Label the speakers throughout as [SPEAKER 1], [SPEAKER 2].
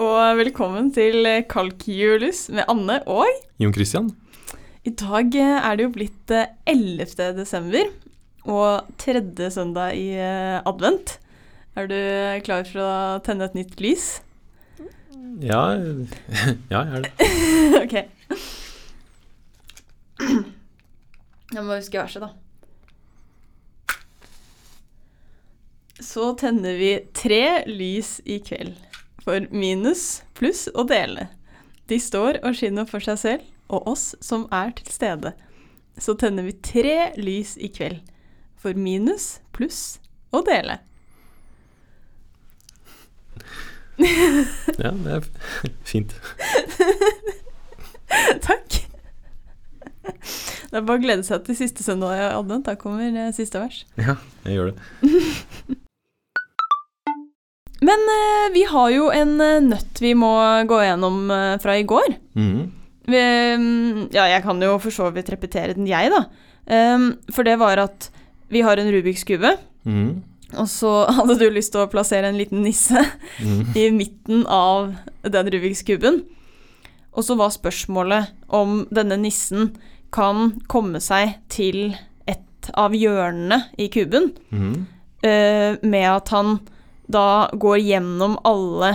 [SPEAKER 1] og velkommen til Kalkjulus med Anne og
[SPEAKER 2] Jon Christian?
[SPEAKER 1] I dag eh, er det jo blitt eh, 11. desember og tredje søndag i eh, advent. Er du klar for å tenne et nytt lys?
[SPEAKER 2] Ja, ja jeg er det.
[SPEAKER 1] ok. Jeg må huske verset, da. Så tenner vi tre lys i kveld. For minus, pluss og dele. De står og skinner for seg selv og oss som er til stede. Så tenner vi tre lys i kveld. For minus, pluss og dele.
[SPEAKER 2] Ja, det er fint.
[SPEAKER 1] Takk. Det er bare å glede seg til siste søndag i advent. Da kommer eh, siste vers.
[SPEAKER 2] Ja, jeg gjør det.
[SPEAKER 1] Men eh, vi har jo en eh, nøtt vi må gå gjennom eh, fra i går.
[SPEAKER 2] Mhm.
[SPEAKER 1] Vi, mm, ja, jeg kan jo for så vidt repetere den, jeg, da. Ehm, for det var at vi har en Rubiks kube,
[SPEAKER 2] Mhm.
[SPEAKER 1] og så hadde du lyst til å plassere en liten nisse
[SPEAKER 2] Mhm.
[SPEAKER 1] i midten av den Rubiks kuben. Og så var spørsmålet om denne nissen kan komme seg til et av hjørnene i kuben
[SPEAKER 2] Mhm.
[SPEAKER 1] eh, med at han da går gjennom alle,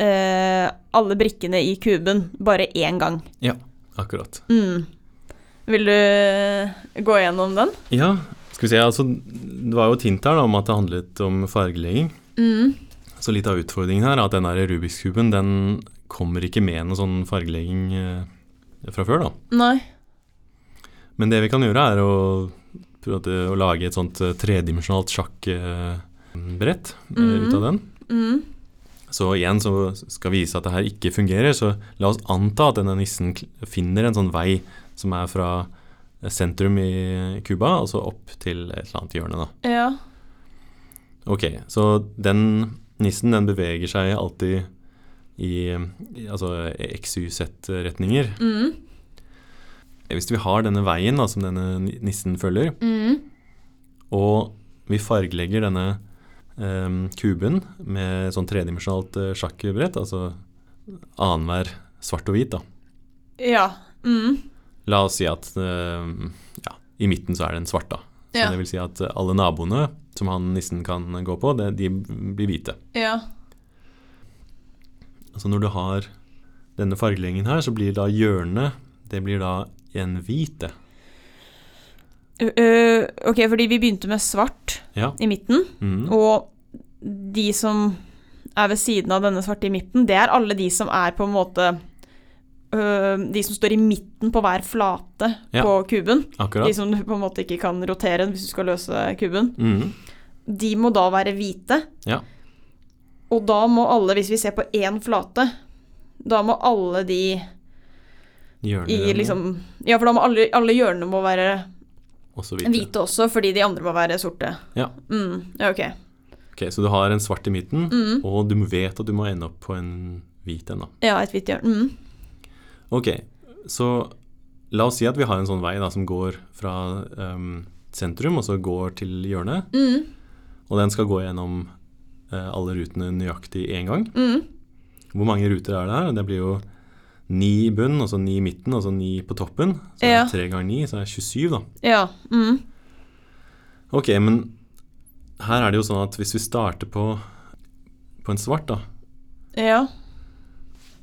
[SPEAKER 1] eh, alle brikkene i kuben bare én gang.
[SPEAKER 2] Akkurat.
[SPEAKER 1] Mm. Vil du gå gjennom den?
[SPEAKER 2] Ja, skal vi se, altså det var jo et hint her da, om at det handlet om fargelegging.
[SPEAKER 1] Mm.
[SPEAKER 2] Så litt av utfordringen her er at den der Rubiks kuben, den kommer ikke med noe sånn fargelegging eh, fra før da.
[SPEAKER 1] Nei.
[SPEAKER 2] Men det vi kan gjøre er å prøve å lage et sånt eh, tredimensjonalt sjakkbrett eh, ut av den.
[SPEAKER 1] Mm.
[SPEAKER 2] Så igjen så skal vi vise at det her ikke fungerer, så la oss anta at denne nissen kl- finner en sånn vei som er fra sentrum i Cuba, altså opp til et eller annet hjørne, da.
[SPEAKER 1] Ja.
[SPEAKER 2] Ok, så den nissen den beveger seg alltid i, i altså XYZ-retninger.
[SPEAKER 1] Mm.
[SPEAKER 2] Hvis vi har denne veien da, som denne ni- nissen følger,
[SPEAKER 1] Mm.
[SPEAKER 2] og vi fargelegger denne eh, kuben med sånn tredimensjonalt eh, sjakkbrett, altså annenhver svart og hvit, da.
[SPEAKER 1] Ja. Mm.
[SPEAKER 2] La oss si at eh, ja, i midten så Sånn er det en svart, da. Så
[SPEAKER 1] Ja.
[SPEAKER 2] det vil si at alle naboene som han nissen kan gå på, det, de blir hvite.
[SPEAKER 1] Ja.
[SPEAKER 2] Altså når du har denne fargelengen her, så blir da hjørnet Det blir da en hvite.
[SPEAKER 1] Ø- ø, Eh, ok, fordi vi begynte med svart
[SPEAKER 2] Ja.
[SPEAKER 1] i midten,
[SPEAKER 2] mhm,
[SPEAKER 1] og de som er ved siden av denne svarte i midten, det er alle de som er på en måte ø, De som står i midten på hver flate
[SPEAKER 2] Ja.
[SPEAKER 1] på kuben. De
[SPEAKER 2] akkurat.
[SPEAKER 1] som du på en måte ikke kan rotere hvis du skal løse kuben.
[SPEAKER 2] Mhm,
[SPEAKER 1] De må da være hvite.
[SPEAKER 2] Ja.
[SPEAKER 1] Og da må alle, hvis vi ser på én flate, da må alle de
[SPEAKER 2] hjørnet
[SPEAKER 1] i
[SPEAKER 2] den,
[SPEAKER 1] liksom Ja, for da må alle, alle hjørnene må være
[SPEAKER 2] og så hvite.
[SPEAKER 1] hvite også, fordi de andre må være sorte.
[SPEAKER 2] Ja.
[SPEAKER 1] Mm, ja, ok.
[SPEAKER 2] Ok, så du har en svart i midten,
[SPEAKER 1] Mm,
[SPEAKER 2] og du vet at du må ende opp på en hvit en, da.
[SPEAKER 1] ja, et hvitt hjørne. Mm,
[SPEAKER 2] Ok, så la oss si at vi har en sånn vei da, som går fra ehm, sentrum, og så går til hjørnet.
[SPEAKER 1] mm,
[SPEAKER 2] Og den skal gå gjennom eh, alle rutene nøyaktig én gang.
[SPEAKER 1] mm,
[SPEAKER 2] Hvor mange ruter er det her? Det blir jo ni i bunnen, og så ni i midten, og så ni på toppen. Så
[SPEAKER 1] Ja.
[SPEAKER 2] tre ganger ni, så er det 27, da.
[SPEAKER 1] ja. Mm,
[SPEAKER 2] Ok, men her er det jo sånn at hvis vi starter på, på en svart, da,
[SPEAKER 1] ja.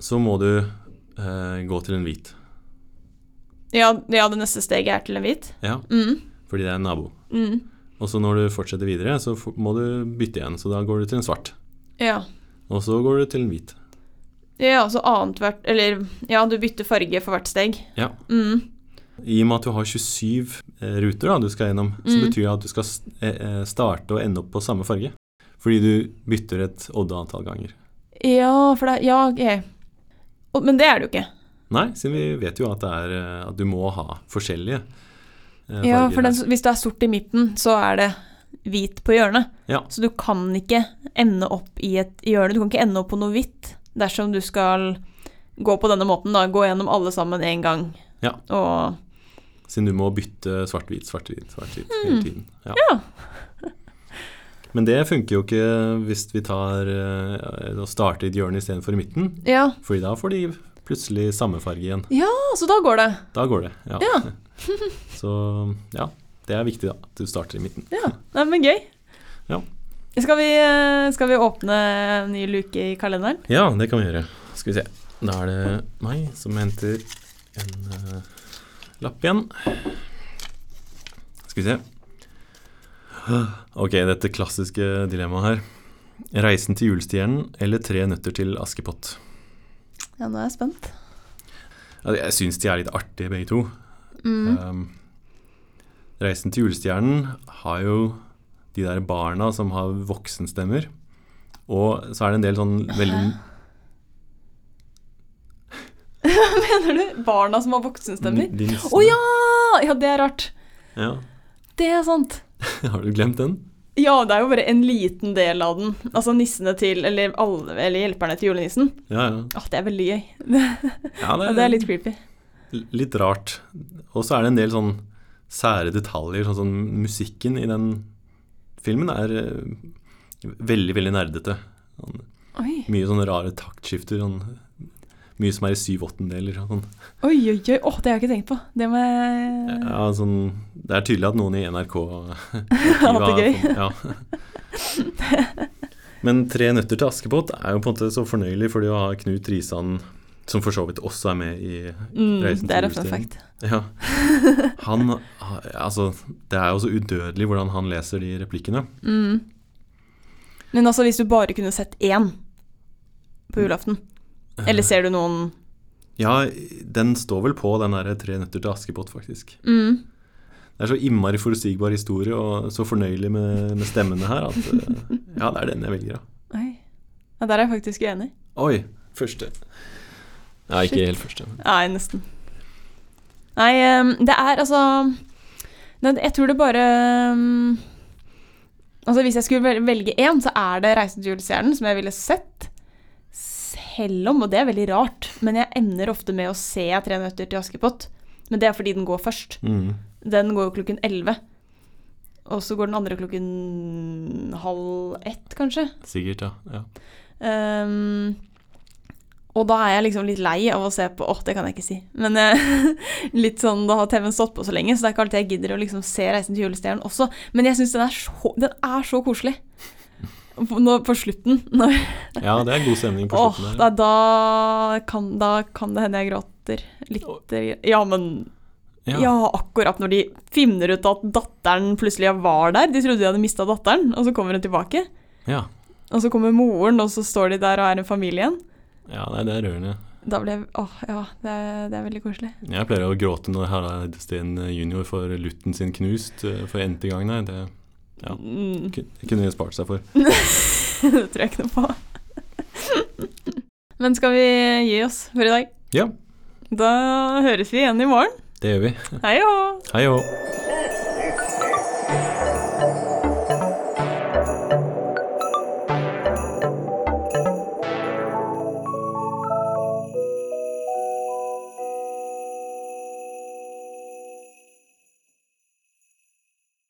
[SPEAKER 2] så må du eh, gå til en hvit.
[SPEAKER 1] Ja, ja, det neste steget er til en hvit.
[SPEAKER 2] Ja,
[SPEAKER 1] Mm,
[SPEAKER 2] fordi det er en nabo.
[SPEAKER 1] mm,
[SPEAKER 2] Og så når du fortsetter videre, så f- må du bytte igjen. Så da går du til en svart.
[SPEAKER 1] ja.
[SPEAKER 2] Og så går du til en hvit.
[SPEAKER 1] Ja, altså annethvert Eller ja, du bytter farge for hvert steg.
[SPEAKER 2] Ja.
[SPEAKER 1] Mm.
[SPEAKER 2] I og med at du har 27 eh, ruter da, du skal gjennom, så
[SPEAKER 1] Mm.
[SPEAKER 2] betyr det at du skal s- eh, eh, starte og ende opp på samme farge. Fordi du bytter et oddeantall ganger.
[SPEAKER 1] Ja, for det er Ja, ok. Og- Men det er det jo ikke.
[SPEAKER 2] Nei, siden vi vet jo at, det er, eh, at du må ha forskjellige eh,
[SPEAKER 1] Ja, for
[SPEAKER 2] farger.
[SPEAKER 1] den,
[SPEAKER 2] her.
[SPEAKER 1] som- hvis du er sort i midten, så er det hvit på hjørnet.
[SPEAKER 2] Ja.
[SPEAKER 1] Så du kan ikke ende opp i et hjørne. Du kan ikke ende opp på noe hvitt dersom du skal gå på denne måten, da. Gå gjennom alle sammen én gang.
[SPEAKER 2] Ja.
[SPEAKER 1] Og Mm.
[SPEAKER 2] Siden du må bytte svart-hvit, svart-hvit, svart-hvit hele tiden. Ja. Men det funker jo ikke hvis vi tar eh, og starter i et hjørne istedenfor i midten.
[SPEAKER 1] Ja.
[SPEAKER 2] Fordi da får de plutselig samme farge igjen.
[SPEAKER 1] ja, så da går det.
[SPEAKER 2] Da går det. Ja.
[SPEAKER 1] Ja.
[SPEAKER 2] Så ja, det er viktig da, at du starter i midten.
[SPEAKER 1] Ja, Nei, men gøy.
[SPEAKER 2] Ja.
[SPEAKER 1] Skal vi, eh, skal vi åpne en ny luke i kalenderen?
[SPEAKER 2] Ja, det kan vi gjøre. Skal vi se. Da er det meg som henter en eh, lapp igjen. Skal vi se. Ok, dette klassiske dilemmaet her. Reisen til julestjernen eller Tre nøtter til Askepott?
[SPEAKER 1] Ja, nå er jeg spent.
[SPEAKER 2] Altså, jeg syns de er litt artige, begge to.
[SPEAKER 1] Mm.
[SPEAKER 2] Um, Reisen til julestjernen har jo de der barna som har voksenstemmer. Og så er det en del sånn veldig
[SPEAKER 1] Mener du barna som har voksenstemmer?
[SPEAKER 2] de nissene.
[SPEAKER 1] Å ja! Ja, det er rart.
[SPEAKER 2] ja!
[SPEAKER 1] Det er sant.
[SPEAKER 2] Har du glemt den?
[SPEAKER 1] Ja, det er jo bare en liten del av den. Altså nissene til, eller, alle, eller hjelperne til julenissen.
[SPEAKER 2] Ja, ja.
[SPEAKER 1] Åh, det er veldig gøy.
[SPEAKER 2] ja
[SPEAKER 1] Ja, det er litt creepy.
[SPEAKER 2] litt rart. Og så er det en del sånn sære detaljer, sånn som musikken i den filmen er eh, veldig, veldig nerdete. Sånn,
[SPEAKER 1] Oi,
[SPEAKER 2] mye sånne rare taktskifter. Sånn, mye som er i syv åttendeler. Sånn.
[SPEAKER 1] oi, oi. oi. Åh, det har jeg ikke tenkt på. Det må jeg
[SPEAKER 2] Ja, sånn, det er tydelig at noen i NRK
[SPEAKER 1] Hatt det gøy.
[SPEAKER 2] Ja. sånn, Men 'Tre nøtter til Askepott' er jo på en måte så fornøyelig fordi å ha Knut Risan, som for så vidt også er med i
[SPEAKER 1] mm,
[SPEAKER 2] Reisen
[SPEAKER 1] Det er en
[SPEAKER 2] til
[SPEAKER 1] fun
[SPEAKER 2] julestjernen.
[SPEAKER 1] fact.
[SPEAKER 2] Ja. Han Altså, det er jo så udødelig hvordan han leser de replikkene.
[SPEAKER 1] Mm. Men altså, hvis du bare kunne sett én på julaften, eller ser du noen
[SPEAKER 2] Ja, den står vel på den derre 'Tre nøtter til Askepott', faktisk.
[SPEAKER 1] mm.
[SPEAKER 2] Det er så innmari forutsigbar historie og så fornøyelig med, med stemmene her at eh, Ja, det er den jeg velger, ja.
[SPEAKER 1] Oi. Ja, der er jeg faktisk uenig.
[SPEAKER 2] Oi, første. Nei, ikke helt første. men-
[SPEAKER 1] Nei, nesten. Nei, ehm, det er altså Nei, Jeg tror det bare ehm, Altså, hvis jeg skulle vel- velge én, så er det 'Reisen til julestjernen', som jeg ville sett. Selv om, og det er veldig rart, men jeg ender ofte med å se 'Tre nøtter til Askepott'. Men det er fordi den går først.
[SPEAKER 2] Mm.
[SPEAKER 1] Den går jo klokken 11. Og så går den andre klokken halv ett, kanskje.
[SPEAKER 2] Sikkert, ja. ja.
[SPEAKER 1] Ehm, og da er jeg liksom litt lei av å se på Åh, det kan jeg ikke si. Men eh, litt sånn, da har TV-en stått på så lenge, så det er ikke alltid jeg gidder å liksom se 'Reisen til julestjernen' også. Men jeg syns den, er så- den er så koselig. På, nå, på slutten. Når,
[SPEAKER 2] Ja, det er god stemning på
[SPEAKER 1] åh,
[SPEAKER 2] slutten
[SPEAKER 1] da,
[SPEAKER 2] der.
[SPEAKER 1] da, kan, da kan det hende jeg gråter litt. eh, Ja, men ja.
[SPEAKER 2] Ja.
[SPEAKER 1] akkurat når de finner ut at datteren plutselig var der. De trodde de hadde mista datteren, og så kommer hun tilbake.
[SPEAKER 2] Ja.
[SPEAKER 1] Og så kommer moren, og så står de der og er en familie igjen.
[SPEAKER 2] ja, nei, det er rørende.
[SPEAKER 1] Da ble jeg Åh, ja, det er, det er veldig koselig.
[SPEAKER 2] Jeg pleier å gråte når Harald Steen jr. får lutten sin knust eh, for n-te gang. Nei, det Ja.
[SPEAKER 1] Mm,
[SPEAKER 2] kun- det kunne de spart seg for.
[SPEAKER 1] det tror jeg ikke noe på. Men skal vi gi oss for i dag?
[SPEAKER 2] Ja,
[SPEAKER 1] Da høres vi igjen i morgen.
[SPEAKER 2] det gjør vi.
[SPEAKER 1] Hei og hå!
[SPEAKER 2] Hei og